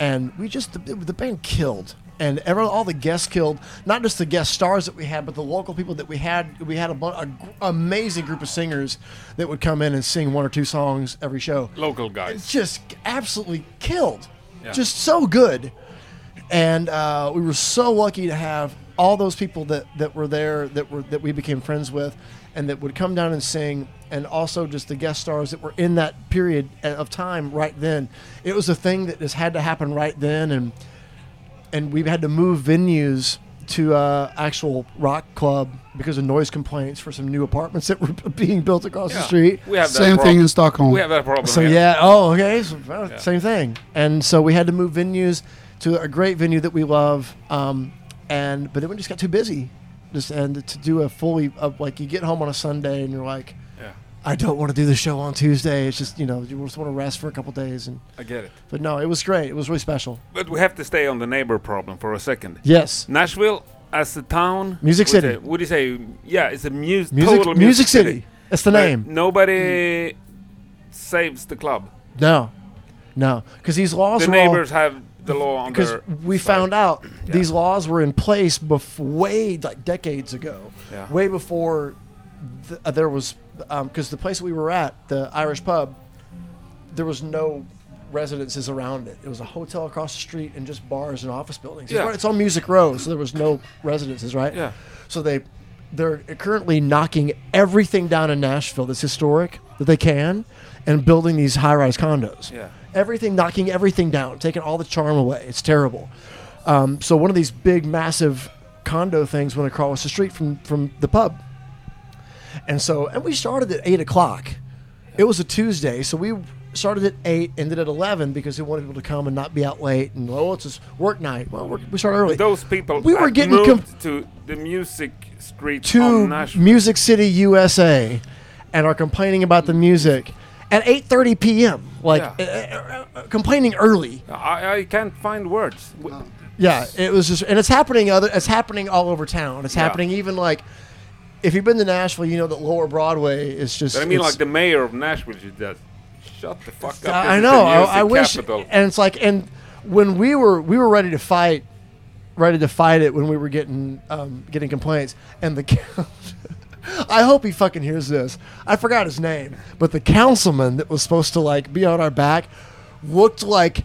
Speaker 1: And we just the, the band killed, and ever all the guests killed. Not just the guest stars that we had, but the local people that we had. We had a, bu- a gr- amazing group of singers that would come in and sing one or two songs every show
Speaker 2: Local guys.
Speaker 1: just absolutely killed.
Speaker 2: Yeah.
Speaker 1: Just so good. And uh, we were so lucky to have all those people that, that were there that were that we became friends with and that would come down and sing and also just the guest stars that were in that period of time right then. It was a thing that just had to happen right then and and we've had to move venues to uh, actual rock club because of noise complaints for some new apartments that were being built across the
Speaker 2: Yeah.
Speaker 1: street.
Speaker 2: We have that
Speaker 3: Same
Speaker 2: problem.
Speaker 3: thing in Stockholm.
Speaker 2: We have that problem.
Speaker 1: So
Speaker 2: here.
Speaker 1: yeah. Oh, okay. So, well,
Speaker 2: Yeah.
Speaker 1: Same thing. And so we had to move venues to a great venue that we love. Um, and but it just got too busy. Just and to do a fully of like you get home on a Sunday and you're like,
Speaker 2: Yeah,
Speaker 1: I don't want to do the show on Tuesday. It's just you know you just want to rest for a couple days. And
Speaker 2: I get it.
Speaker 1: but no, it was great. It was really special.
Speaker 2: But we have to stay on the neighbor problem for a second.
Speaker 1: Yes.
Speaker 2: Nashville as a town.
Speaker 1: Music
Speaker 2: would
Speaker 1: city.
Speaker 2: Say, would you say? Yeah, it's a mu-
Speaker 1: Music.
Speaker 2: total
Speaker 1: Music, City. That's the
Speaker 2: But
Speaker 1: name. Mm-hmm.
Speaker 2: Nobody saves the club.
Speaker 1: No. No, because these laws
Speaker 2: The
Speaker 1: were all-
Speaker 2: neighbors have the law on
Speaker 1: because
Speaker 2: their
Speaker 1: we
Speaker 2: side.
Speaker 1: found out
Speaker 2: Yeah.
Speaker 1: these laws were in place bef- way like decades ago,
Speaker 2: Yeah.
Speaker 1: way before th- uh, there was because the place we were at, the Irish pub, there was no residences around it. It was a hotel across the street and just bars and office buildings. It's
Speaker 2: Yeah.
Speaker 1: right- It's on Music Row, so there was no residences, right?
Speaker 2: Yeah.
Speaker 1: So they they're currently knocking everything down in Nashville that's historic that they can and building these high-rise condos
Speaker 2: Yeah.
Speaker 1: everything knocking everything down, taking all the charm away. It's terrible. Um, so one of these big, massive condo things went across the street from from the pub, and so and we started at eight o'clock. It was a Tuesday, so we started at eight, ended at eleven because we wanted people to come and not be out late. And oh, it's just work night. Well, we're, we start early.
Speaker 2: Those people.
Speaker 1: We were
Speaker 2: have
Speaker 1: getting
Speaker 2: moved
Speaker 1: com-
Speaker 2: to the music street
Speaker 1: to
Speaker 2: on Nashville.
Speaker 1: Music City, USA, and are complaining about the music at 8:30 p.m. Like
Speaker 2: Yeah.
Speaker 1: uh, uh, uh, uh, complaining early.
Speaker 2: I, I can't find words. W-
Speaker 1: Yeah, it was just, and it's happening. Other, it's happening all over town. It's
Speaker 2: Yeah.
Speaker 1: happening even like, if you've been to Nashville, you know that Lower Broadway is just.
Speaker 2: But I mean,
Speaker 1: it's-
Speaker 2: like the mayor of Nashville should just shut the fuck up.
Speaker 1: I I
Speaker 2: This is the
Speaker 1: know. I, I
Speaker 2: music
Speaker 1: wish,
Speaker 2: capital.
Speaker 1: and it's like, and when we were we were ready to fight, ready to fight it when we were getting um, getting complaints, and the. coun- I hope he fucking hears this. I forgot his name, but the councilman that was supposed to like be on our back looked like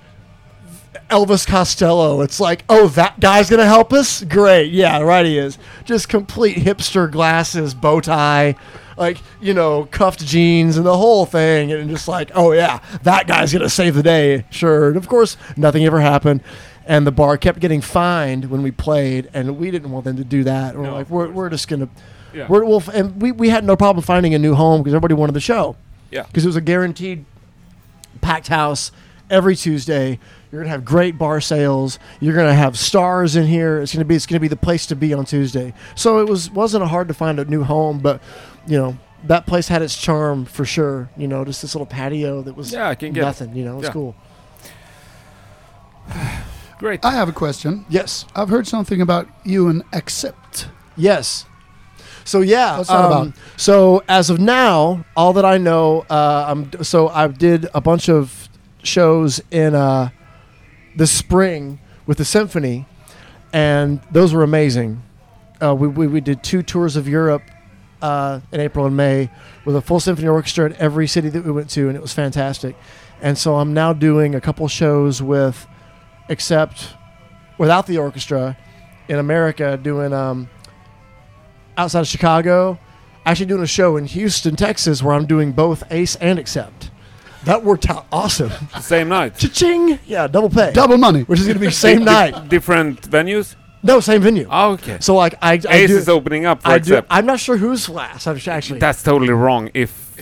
Speaker 1: Elvis Costello. It's like, oh, that guy's gonna help us. Great, yeah, right. He is just complete hipster glasses, bow tie, like you know, cuffed jeans, and the whole thing, and just like, oh yeah, that guy's gonna save the day. Sure, and of course, nothing ever happened. And the bar kept getting fined when we played, and we didn't want them to do that. We're
Speaker 2: No,
Speaker 1: like,
Speaker 2: of
Speaker 1: we're,
Speaker 2: course.
Speaker 1: we're just gonna,
Speaker 2: Yeah.
Speaker 1: we're, we'll, f- and we, we had no problem finding a new home because everybody wanted the show
Speaker 2: yeah.
Speaker 1: because it was a guaranteed packed house every Tuesday. You're gonna have great bar sales. You're gonna have stars in here. It's gonna be it's gonna be the place to be on Tuesday. So it was wasn't hard to find a new home, but you know that place had its charm for sure. You know, just this little patio that was
Speaker 2: Yeah, I can get it.
Speaker 1: nothing. You know, it's
Speaker 2: Yeah.
Speaker 1: cool.
Speaker 2: Great.
Speaker 3: I have a question.
Speaker 1: Yes,
Speaker 3: I've heard something about you and Accept.
Speaker 1: yes. So yeah, um,
Speaker 3: What's that about?
Speaker 1: So as of now, all that I know, uh, I'm so I did a bunch of shows in uh, the spring with the symphony, and those were amazing. Uh, we, we we did two tours of Europe uh, in April and May with a full symphony orchestra in every city that we went to, and it was fantastic. And so I'm now doing a couple shows with, except without the orchestra, in America doing um, outside of Chicago. Actually, doing a show in Houston, Texas, where I'm doing both Ace and Accept. That worked out awesome.
Speaker 2: Same night.
Speaker 1: Cha-ching! Yeah, double pay.
Speaker 3: Double money.
Speaker 1: Which is going to be same night.
Speaker 2: Different venues.
Speaker 1: No, same venue.
Speaker 2: Ah, okay.
Speaker 1: So like I, I
Speaker 2: Ace
Speaker 1: do,
Speaker 2: is opening up for
Speaker 1: I do,
Speaker 2: accept.
Speaker 1: I'm not sure who's last. I'm sh- actually
Speaker 2: That's totally wrong. If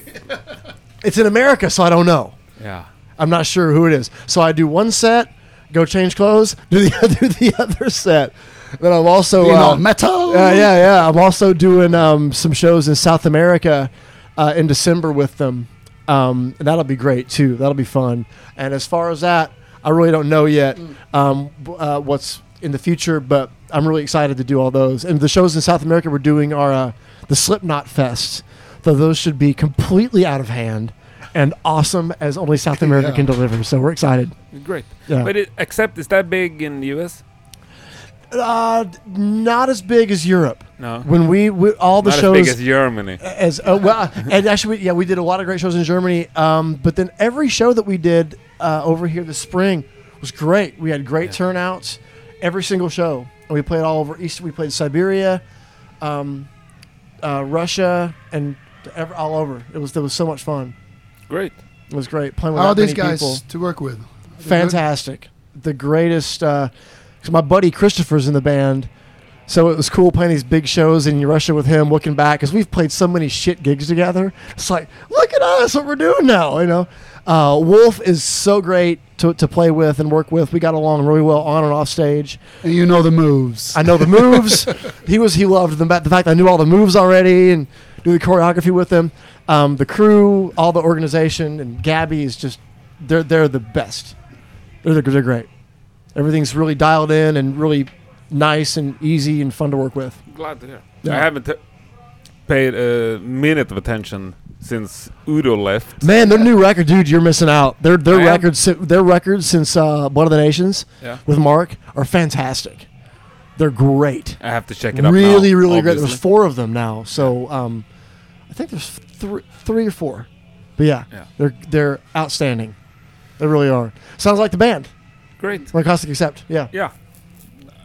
Speaker 1: it's in America, so I don't know.
Speaker 2: yeah,
Speaker 1: I'm not sure who it is. So I do one set, go change clothes, do the other, do the other set, Then I'm also
Speaker 3: Being all
Speaker 1: uh,
Speaker 3: metal.
Speaker 1: yeah, yeah, yeah. I'm also doing um, some shows in South America uh, in December with them. Um, and that'll be great too. That'll be fun. And as far as that, I really don't know yet um, b- uh, what's in the future, but I'm really excited to do all those. And the shows in South America we're doing are uh, the Slipknot Fest. So those should be completely out of hand and awesome as only South America
Speaker 3: Yeah.
Speaker 1: can deliver. So we're excited.
Speaker 2: Great.
Speaker 1: Yeah.
Speaker 2: But it, except, is that big in the US?
Speaker 1: Uh, not as big as Europe.
Speaker 2: No.
Speaker 1: When we, we all the
Speaker 2: Not
Speaker 1: shows
Speaker 2: as big as Germany.
Speaker 1: as uh, well and actually we- yeah we did a lot of great shows in germany um, but then every show that we did uh, over here this spring was great we had great
Speaker 2: Yeah.
Speaker 1: turnouts every single show and we played all over east we played siberia um, uh, russia and ev- all over it was it was so much fun
Speaker 2: Great.
Speaker 1: it was great playing with
Speaker 3: How are
Speaker 1: that
Speaker 3: these
Speaker 1: many
Speaker 3: guys
Speaker 1: people
Speaker 3: to work with?
Speaker 1: fantastic the greatest uh 'cause my buddy christopher's in the band so it was cool playing these big shows in russia with him looking back because we've played so many shit gigs together it's like look at us what we're doing now you know uh, wolf is so great to, to play with and work with we got along really well on and off stage
Speaker 3: And you know the moves.
Speaker 1: i know the moves he was he loved the, ma- the fact that i knew all the moves already and do the choreography with them um, the crew all the organization and gabby is just they're they're the best they're, they're, they're great. Everything's really dialed in and really nice and easy and fun to work with.
Speaker 2: Glad to hear.
Speaker 1: Yeah.
Speaker 2: I haven't uh, paid a minute of attention since Udo left.
Speaker 1: Man, their new record, dude, you're missing out. Their their
Speaker 2: I am.
Speaker 1: record, si- their records since uh, Blood of the Nations
Speaker 2: Yeah.
Speaker 1: with Mark are fantastic. They're great,
Speaker 2: I have to check it out.
Speaker 1: really,
Speaker 2: now,
Speaker 1: really great.
Speaker 2: obviously.
Speaker 1: There's four of them now, so um, I think there's three, three or four. But yeah,
Speaker 2: Yeah.
Speaker 1: they're they're outstanding. They really are. Sounds like the band,
Speaker 2: Great.
Speaker 1: Narcotic Accept. Yeah.
Speaker 2: Yeah.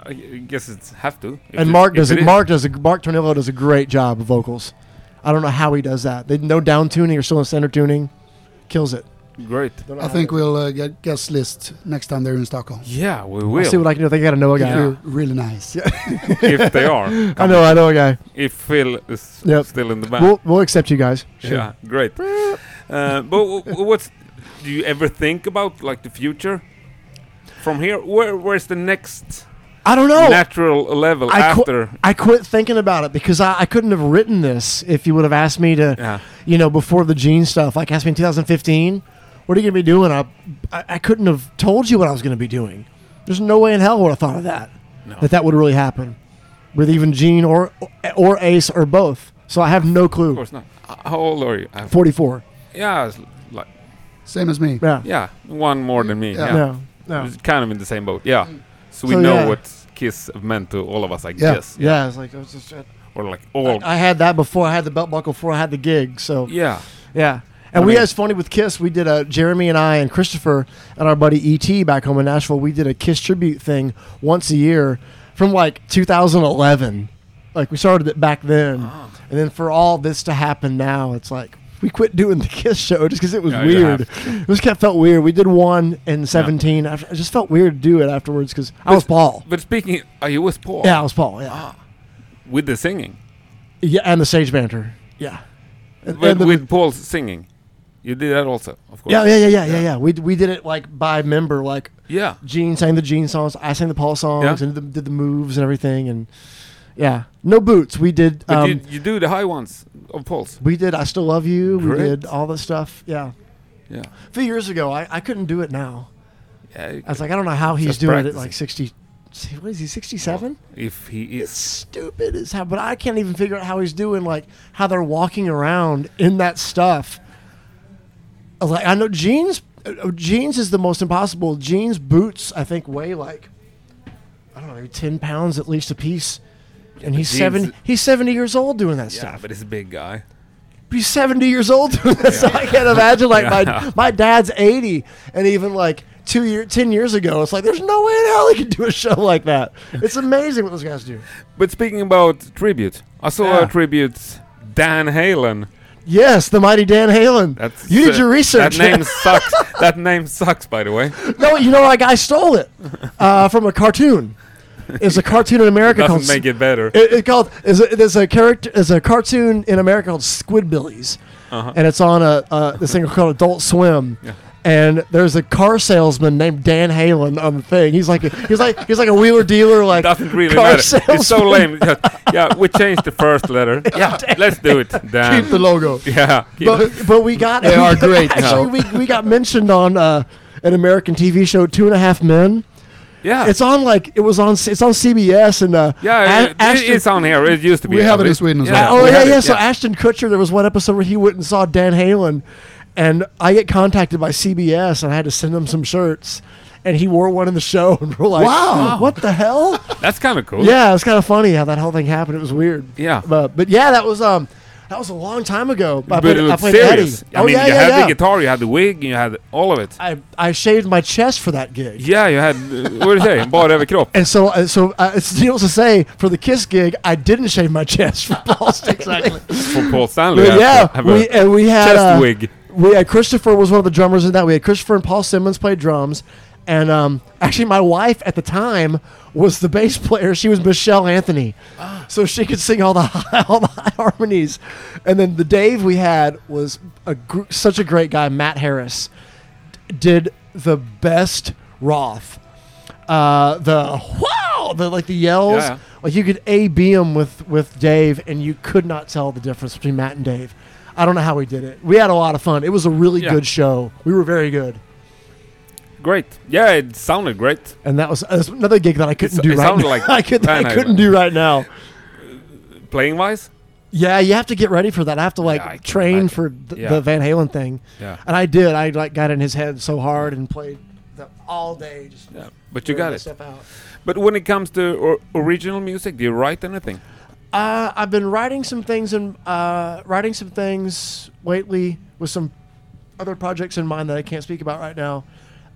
Speaker 2: I guess it's have to. If
Speaker 1: and
Speaker 2: it-
Speaker 1: Mark
Speaker 2: if
Speaker 1: does
Speaker 2: it
Speaker 1: it.
Speaker 2: is.
Speaker 1: Mark does a, Mark Tornillo does a great job of vocals. I don't know how he does that. They no down tuning or still in center tuning, kills it.
Speaker 2: Great.
Speaker 1: Don't know
Speaker 3: I
Speaker 1: how
Speaker 3: think
Speaker 1: they-
Speaker 3: we'll uh, get guest list next time they're in Stockholm.
Speaker 2: Yeah, we
Speaker 1: I'll
Speaker 2: will.
Speaker 1: see what I can do. I think I gotta know a guy.
Speaker 2: Yeah.
Speaker 3: You're really nice.
Speaker 2: if they are.
Speaker 1: I know, I know a guy.
Speaker 2: If Phil is
Speaker 1: Yep.
Speaker 2: still in the band.
Speaker 1: We'll, we'll accept you guys.
Speaker 2: Yeah, great. Uh, but w- w- what's do you ever think about like the future from here? Where where's the next
Speaker 1: I don't know.
Speaker 2: natural level
Speaker 1: I qu-
Speaker 2: after?
Speaker 1: I quit thinking about it because I, I couldn't have written this if you would have asked me to,
Speaker 2: Yeah,
Speaker 1: you know, before the Gene stuff. Like asked me in 2015, what are you gonna be doing? I, I I couldn't have told you what I was gonna be doing. There's no way in hell would I thought of that.
Speaker 2: no.
Speaker 1: that that would really happen with even Gene or or Ace or both. So I have no
Speaker 2: of
Speaker 1: clue.
Speaker 2: course not. Uh, How old are you? I'm-
Speaker 1: 44.
Speaker 2: yeah, it's like,
Speaker 3: Same as me.
Speaker 1: Yeah.
Speaker 2: yeah, one more than me.
Speaker 3: Yeah.
Speaker 2: Yeah,
Speaker 1: No. No.
Speaker 2: It's kind of in the same boat. Yeah, so we
Speaker 1: So,
Speaker 2: know
Speaker 1: yeah.
Speaker 2: what Kiss have meant to all of us, I
Speaker 3: Yeah.
Speaker 2: guess.
Speaker 1: Yeah, it's like I was just, I,
Speaker 2: or like all.
Speaker 1: I had that before I had the belt buckle before I had the gig. So
Speaker 2: yeah,
Speaker 1: yeah. And
Speaker 2: I
Speaker 1: we
Speaker 2: mean-
Speaker 1: it's funny with Kiss. We did a Jeremy and I and Christopher and our buddy ET back home in Nashville. We did a Kiss tribute thing once a year from like 2011. Like we started it back then,
Speaker 2: Oh.
Speaker 1: and then for all this to happen now, it's like we quit doing the Kiss show just because it was
Speaker 2: Yeah, you
Speaker 1: weird. It was kind of felt weird. We did one in 17. After, it just felt weird to do it afterwards because I was Paul.
Speaker 2: but speaking, are you with Paul?
Speaker 1: Yeah, I was Paul. Yeah,
Speaker 2: Oh. with the singing,
Speaker 1: yeah, and the stage banter. Yeah, and,
Speaker 2: with,
Speaker 1: and the-
Speaker 2: with Paul's singing, you did that also, of course.
Speaker 1: yeah, yeah, yeah, yeah, yeah, yeah. We we did it like by member, like
Speaker 2: yeah.
Speaker 1: Gene sang the Gene songs. I sang the Paul songs
Speaker 2: Yeah.
Speaker 1: and did the, did the moves and everything. And yeah, no boots. We did.
Speaker 2: But
Speaker 1: Um,
Speaker 2: you, you do the high ones of Paul's.
Speaker 1: we did. I still love you. We
Speaker 2: Great.
Speaker 1: did all this stuff. Yeah,
Speaker 2: Yeah.
Speaker 1: a few years ago, I, I couldn't do it now.
Speaker 2: yeah you
Speaker 1: I was like, I don't know how he's
Speaker 2: Just
Speaker 1: doing it
Speaker 2: practicing.
Speaker 1: at like sixty. see, What is he? Sixty-seven.
Speaker 2: could- if he
Speaker 1: It's
Speaker 2: is.
Speaker 1: stupid as how, but I can't even figure out how he's doing. Like how they're walking around in that stuff. I was like, I know jeans. uh, Jeans is the most impossible. Jeans boots, I think, weigh like I don't know, maybe ten pounds at least a piece. And he's
Speaker 2: jeans-
Speaker 1: seven. He's seventy years old doing that
Speaker 2: Yeah,
Speaker 1: stuff.
Speaker 2: but he's a big guy.
Speaker 1: He's seventy years old doing that. stuff. I can't imagine. Like my my dad's eighty, and even like two year, ten years ago, it's like there's no way in hell he could do a show like that. It's amazing what those guys do.
Speaker 2: But speaking about tribute, I saw
Speaker 1: Yeah.
Speaker 2: a tribute Dan Halen.
Speaker 1: Yes, the mighty Dan Halen.
Speaker 2: That's
Speaker 1: you did
Speaker 2: uh,
Speaker 1: your research.
Speaker 2: That name sucks. that name sucks, by the way.
Speaker 1: no, you know like I stole it uh, from a cartoon. It's a cartoon in America called
Speaker 2: Doesn't make it better.
Speaker 1: It, it called is a, there's a character there's a cartoon in America called Squidbillies,
Speaker 2: Uh-huh.
Speaker 1: and it's on a uh, this thing called Adult Swim,
Speaker 2: Yeah.
Speaker 1: and there's a car salesman named Dan Halen on the thing. He's like he's like he's like a wheeler dealer like
Speaker 2: Doesn't really
Speaker 1: car
Speaker 2: matter. It's so
Speaker 1: salesman.
Speaker 2: lame. yeah, we changed the first letter. Yeah, let's do it.
Speaker 3: Keep the
Speaker 2: Damn.
Speaker 3: logo.
Speaker 2: Um, Yeah. keep-
Speaker 1: but but we got
Speaker 3: They are great,
Speaker 1: Actually, we, we got mentioned on uh, an American TV show, Two and a Half Men.
Speaker 2: yeah.
Speaker 1: It's on like it was on it's on CBS and uh,
Speaker 2: yeah,
Speaker 1: A-
Speaker 2: it,
Speaker 1: Ashton-
Speaker 2: it's on here. It used to be.
Speaker 3: We have it
Speaker 2: on
Speaker 3: in
Speaker 2: this-
Speaker 3: Sweden as
Speaker 2: Yeah.
Speaker 3: well.
Speaker 1: Oh
Speaker 2: we
Speaker 1: yeah,
Speaker 2: have it,
Speaker 1: yeah. So Ashton Kutcher, there was one episode where he went and saw Dan Halen, and I get contacted by CBS, and I had to send him some shirts, and he wore one in the show, and we're like,
Speaker 3: Wow.
Speaker 1: what the hell?
Speaker 2: That's kind of cool.
Speaker 1: yeah, it's kind of funny how that whole thing happened. It was weird.
Speaker 2: Yeah.
Speaker 1: but but yeah, that was um that was a long time ago. I
Speaker 2: But
Speaker 1: played,
Speaker 2: it
Speaker 1: I
Speaker 2: looked
Speaker 1: played
Speaker 2: serious.
Speaker 1: Eddie.
Speaker 2: I
Speaker 1: oh
Speaker 2: mean,
Speaker 1: yeah,
Speaker 2: you
Speaker 1: yeah,
Speaker 2: had
Speaker 1: yeah.
Speaker 2: the guitar, you had the wig, and you had all of it.
Speaker 1: I I shaved my chest for that gig.
Speaker 2: Yeah, you had, uh, what do you say, bara överkropp.
Speaker 1: And so, uh, so uh, it's needless to say, for the Kiss gig, I didn't shave my chest for Paul Exactly.
Speaker 2: For Paul Stanley.
Speaker 1: But
Speaker 2: you had to
Speaker 1: yeah,
Speaker 2: have a
Speaker 1: we, and we had
Speaker 2: chest
Speaker 1: uh,
Speaker 2: wig.
Speaker 1: we had Christopher was one of the drummers in that. We had Christopher and Paul Simmons play drums, and um, actually my wife at the time was the bass player. She was Michelle Anthony, so she could sing all the high, all the high harmonies. And then the Dave we had was a gr- such a great guy, Matt Harris, d- did the best Roth. Uh, the wow, the like the yells,
Speaker 2: Yeah.
Speaker 1: like you could A B him with with Dave, and you could not tell the difference between Matt and Dave. I don't know how we did it. We had a lot of fun. It was a really
Speaker 2: Yeah.
Speaker 1: good show. We were very good,
Speaker 2: Great. Yeah, it sounded great.
Speaker 1: and that was uh, that's another gig that I couldn't
Speaker 2: It's-
Speaker 1: do
Speaker 2: it
Speaker 1: right.
Speaker 2: sounded
Speaker 1: Now.
Speaker 2: like
Speaker 1: I, could, I
Speaker 2: Van
Speaker 1: couldn't
Speaker 2: Halen.
Speaker 1: do right now.
Speaker 2: Playing wise?
Speaker 1: Yeah, you have to get ready for that. I have to like
Speaker 2: Yeah, I can
Speaker 1: train
Speaker 2: imagine.
Speaker 1: for th-
Speaker 2: Yeah.
Speaker 1: the Van Halen thing,
Speaker 2: Yeah.
Speaker 1: and I did. I like got in his head so hard and played the, all day. Just
Speaker 2: Yeah, but you
Speaker 1: figuring
Speaker 2: got
Speaker 1: that
Speaker 2: it.
Speaker 1: stuff out.
Speaker 2: But when it comes to or, original music, do you write anything?
Speaker 1: Uh, I've been writing some things and uh, writing some things lately with some other projects in mind that I can't speak about right now.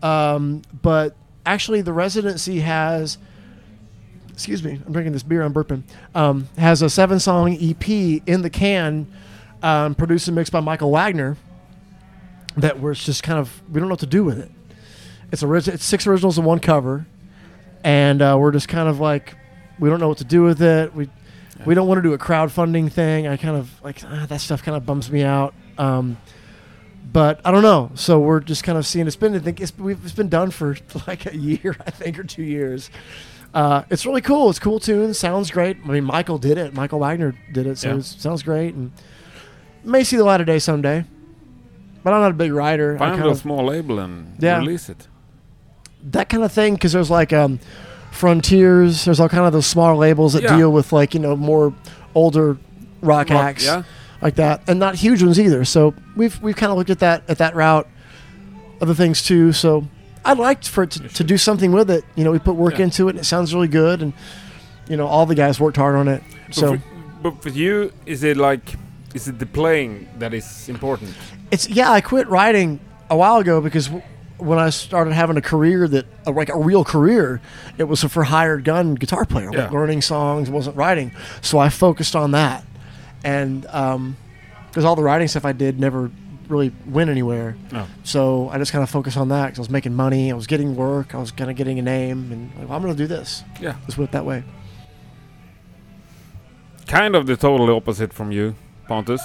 Speaker 1: Um, but actually, the residency has, excuse me, I'm drinking this beer, I'm burping, um, has a seven song EP in the can, um, produced and mixed by Michael Wagner. That we're just kind of we don't know what to do with it. It's orig- it's six originals and one cover, and uh, we're just kind of like we don't know what to do with it. We we don't want to do a crowdfunding thing. I kind of like ah, that stuff kind of bums me out. Um, but I don't know. So we're just kind of seeing. It's been I think it's, we've, it's been done for like a year, I think, or two years. Uh, it's really cool. It's cool tune. Sounds great. I mean, Michael did it. Michael Wagner did it. So
Speaker 2: Yeah.
Speaker 1: it sounds great. And may see the light of day someday. But I'm not a big writer. I
Speaker 2: Find
Speaker 1: kind
Speaker 2: a
Speaker 1: of-
Speaker 2: small label and
Speaker 1: Yeah.
Speaker 2: release it.
Speaker 1: that kind of thing because there's like um, frontiers there's all kind of those smaller labels that
Speaker 2: Yeah.
Speaker 1: deal with like you know more older rock,
Speaker 2: Rock,
Speaker 1: acts
Speaker 2: yeah.
Speaker 1: like that and not huge ones either so we've we've kind of looked at that at that route other things too so i'd like for it to, to do something with it you know we put work
Speaker 2: Yeah.
Speaker 1: into it and it sounds really good and you know all the guys worked hard on it so
Speaker 2: But for, but for you, is it like, is it the playing that is important?
Speaker 1: it's yeah i quit writing a while ago because w- when i started having a career that a, like a real career it was a for hired gun guitar player like
Speaker 2: Yeah.
Speaker 1: learning songs wasn't writing so i focused on that and because all the writing stuff i did never really went anywhere
Speaker 2: No.
Speaker 1: so i just kind of focused on that because i was making money i was getting work i was kind of getting a name and like, well, i'm gonna do this
Speaker 2: Yeah.
Speaker 1: let's put it that way
Speaker 2: Kind of the total opposite from you, Pontus.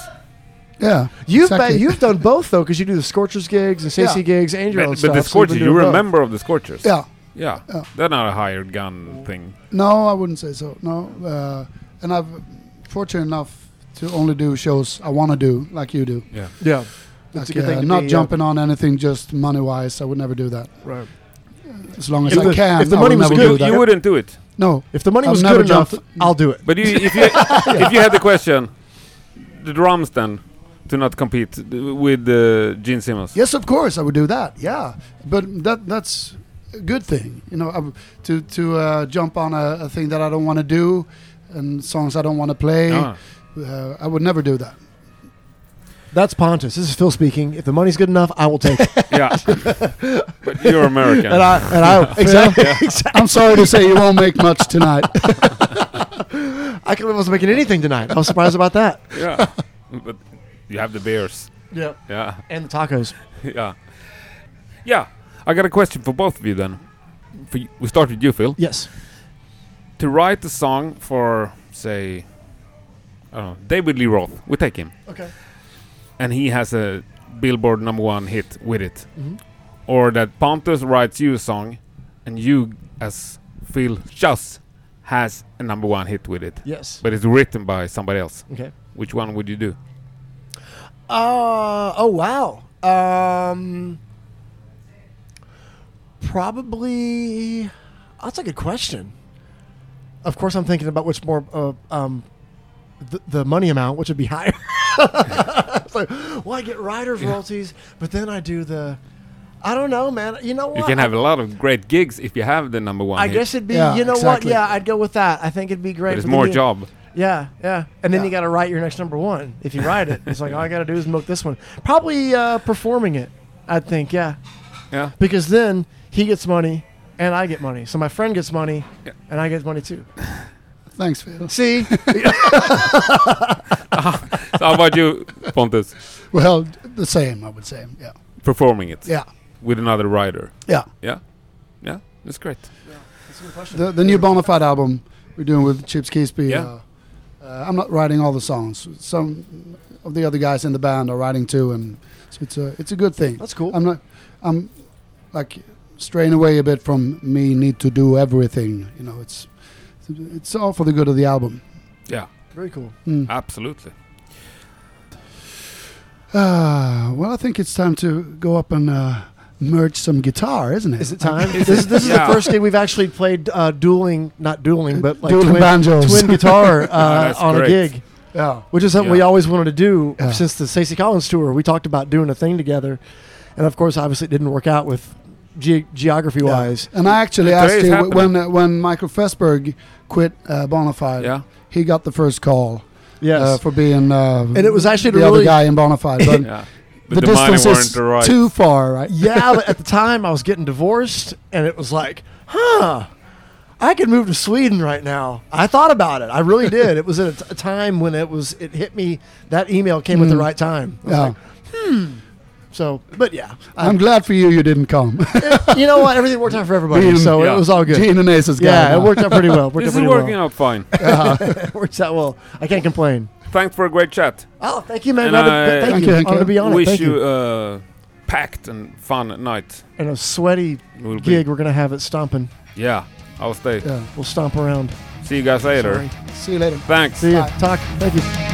Speaker 3: Yeah.
Speaker 1: you've
Speaker 3: exactly.
Speaker 1: been, you've done both though because you do the scorchers gigs and stacy
Speaker 3: Yeah.
Speaker 1: gigs and your
Speaker 2: But,
Speaker 1: own
Speaker 2: but
Speaker 1: stuff
Speaker 2: the
Speaker 1: so you've
Speaker 2: Scorchers,
Speaker 1: been
Speaker 2: you
Speaker 1: doing both.
Speaker 2: remember of the Scorchers?
Speaker 3: Yeah.
Speaker 2: Yeah.
Speaker 3: Yeah.
Speaker 2: They're not a hired gun thing.
Speaker 3: No, I wouldn't say so. No, uh, and I've fortunate enough to only do shows I want to do, like you do.
Speaker 2: Yeah.
Speaker 1: yeah It's a
Speaker 3: Like,
Speaker 1: good thing
Speaker 3: uh,
Speaker 1: to
Speaker 3: not
Speaker 1: be, uh,
Speaker 3: jumping on anything just money wise. I would never do that.
Speaker 1: right
Speaker 3: As long as
Speaker 1: If
Speaker 3: I
Speaker 1: the-
Speaker 3: can,
Speaker 1: if the
Speaker 3: I
Speaker 1: money
Speaker 3: will
Speaker 1: was
Speaker 3: never
Speaker 1: good,
Speaker 3: do
Speaker 2: You,
Speaker 3: that.
Speaker 2: you wouldn't do it.
Speaker 3: no,
Speaker 1: If the money
Speaker 3: I've
Speaker 1: was
Speaker 3: never
Speaker 1: good enough,
Speaker 3: jumped-
Speaker 1: I'll do it.
Speaker 2: But you, if you if you had the question, the drums then to not compete uh, with uh, Gene Simmons.
Speaker 3: Yes, of course, I would do that. Yeah, but that that's a good thing, you know, I, to to uh, jump on a, a thing that I don't want to do and songs I don't want to play.
Speaker 2: Ah.
Speaker 3: Uh, I would never do that.
Speaker 1: That's Pontus. This is Phil speaking. If the money's good enough, I will take it.
Speaker 2: yeah. but you're American.
Speaker 1: and I and I
Speaker 3: Exactly.
Speaker 1: Phil,
Speaker 3: I'm sorry to say you won't make much tonight.
Speaker 1: I couldn't- I wasn't making anything tonight. I was surprised about that.
Speaker 2: yeah. But you have the beers.
Speaker 1: Yeah.
Speaker 2: Yeah.
Speaker 1: And the tacos.
Speaker 2: yeah. Yeah. I got a question for both of you then. For you, we start with you, Phil.
Speaker 1: Yes.
Speaker 2: To write the song for, say, I don't know, David Lee Roth. We take him.
Speaker 1: Okay.
Speaker 2: and he has a Billboard number one hit with it.
Speaker 1: Mhm.
Speaker 2: or that Pontus writes you a song, and you as Phil Schuss has a number one hit with it,
Speaker 1: Yes.
Speaker 2: but it's written by somebody else.
Speaker 1: Okay.
Speaker 2: Which one would you do?
Speaker 1: Uh, oh wow. Um, probably. That's a good question. Of course, I'm thinking about which more uh, um, the, the money amount, which would be higher. It's like, well, I get writers royalties, but then I do the. I don't know, man. You know what?
Speaker 2: You can have a lot of great gigs if you have the number one
Speaker 1: I
Speaker 2: hit,
Speaker 1: guess it'd be.
Speaker 3: Yeah,
Speaker 1: you know
Speaker 3: exactly.
Speaker 1: what? Yeah, I'd go with that. I think it'd be great.
Speaker 2: but it's
Speaker 1: for
Speaker 2: more
Speaker 1: me.
Speaker 2: job.
Speaker 1: Yeah, yeah. And then
Speaker 3: Yeah.
Speaker 1: you got to write your next number one. If you write it, it's like all I got to do is milk this one. Probably uh, performing it, I think. Yeah,
Speaker 2: Yeah.
Speaker 1: because then he gets money and I get money. So my friend gets money and I get money too.
Speaker 3: Thanks, Phil.
Speaker 1: See,
Speaker 2: So how about you, Pontus,
Speaker 3: Well, the same, I would say. Yeah.
Speaker 2: performing it
Speaker 3: Yeah.
Speaker 2: with another writer?
Speaker 3: Yeah.
Speaker 2: Yeah, yeah, that's great.
Speaker 3: The, the new Bonafide album we're doing with Chips Keesby.
Speaker 2: Yeah.
Speaker 3: Uh, uh, I'm not writing all the songs. Some of the other guys in the band are writing too, and so it's a it's a good thing.
Speaker 1: that's cool.
Speaker 3: I'm not. I'm like straying away a bit from me need to do everything. You know, it's it's all for the good of the album.
Speaker 2: Yeah,
Speaker 1: Very cool.
Speaker 3: Mm.
Speaker 2: absolutely.
Speaker 3: Ah, well, I think it's time to go up and uh, merge some guitar, isn't it?
Speaker 1: Is it time?
Speaker 2: Is
Speaker 1: this is, this is
Speaker 2: Yeah.
Speaker 1: the first day we've actually played uh, dueling, not dueling, but like
Speaker 3: Uh, Dueling
Speaker 1: twin,
Speaker 3: banjos.
Speaker 1: twin Oh. guitar uh,
Speaker 2: that's
Speaker 1: on
Speaker 2: great.
Speaker 1: a gig.
Speaker 3: yeah.
Speaker 1: which is something we
Speaker 2: Yeah.
Speaker 1: always wanted to do
Speaker 3: Yeah.
Speaker 1: since the Stacey Collins tour. We talked about doing a thing together, and of course, obviously, it didn't work out with ge- geography wise.
Speaker 3: And I actually
Speaker 2: Today
Speaker 3: asked
Speaker 2: is
Speaker 3: you wh-
Speaker 2: happening.
Speaker 3: when uh, when Michael Fesberg quit uh, Bonafide.
Speaker 2: Yeah,
Speaker 3: He got the first call
Speaker 1: Yes,
Speaker 3: uh, for being uh,
Speaker 1: and it was actually
Speaker 3: the
Speaker 1: the
Speaker 3: other
Speaker 1: really
Speaker 3: guy in Bonafide, but
Speaker 2: yeah.
Speaker 3: the, distance is too far, right?
Speaker 1: yeah. But at the time, I was getting divorced, and it was like, huh. I could move to Sweden right now. I thought about it. I really did. It was at a, t- a time when it was. It hit me. That email came at the
Speaker 3: Mm.
Speaker 1: right time. I was
Speaker 3: Yeah.
Speaker 1: like, so, but yeah, I-
Speaker 3: I'm glad for you you didn't come.
Speaker 1: you know what? Everything worked out for everybody,
Speaker 3: Being-
Speaker 1: so
Speaker 2: yeah.
Speaker 1: it was all good.
Speaker 3: Gene and Ace's guy.
Speaker 1: yeah,
Speaker 3: now.
Speaker 1: it worked out pretty well. Worked out
Speaker 2: This is
Speaker 1: pretty
Speaker 2: working
Speaker 1: well.
Speaker 2: out fine.
Speaker 1: works out well. I can't complain.
Speaker 2: Thanks for a great chat.
Speaker 1: Oh, thank you, man.
Speaker 2: And
Speaker 1: Robert.
Speaker 2: I-
Speaker 1: Th- thank,
Speaker 3: Thank
Speaker 1: you.
Speaker 3: you, thank
Speaker 1: Honor
Speaker 3: you.
Speaker 1: to be on it.
Speaker 2: Wish
Speaker 1: Thank you.
Speaker 2: you a packed and fun night.
Speaker 1: And a sweaty
Speaker 2: It will be-
Speaker 1: gig we're going to have at Stompin'.
Speaker 2: Yeah, I'll stay.
Speaker 3: Yeah.
Speaker 1: We'll stomp around.
Speaker 2: See you guys later.
Speaker 1: Sorry.
Speaker 3: See you later.
Speaker 2: Thanks.
Speaker 1: See you.
Speaker 3: Bye.
Speaker 1: Talk. Thank you.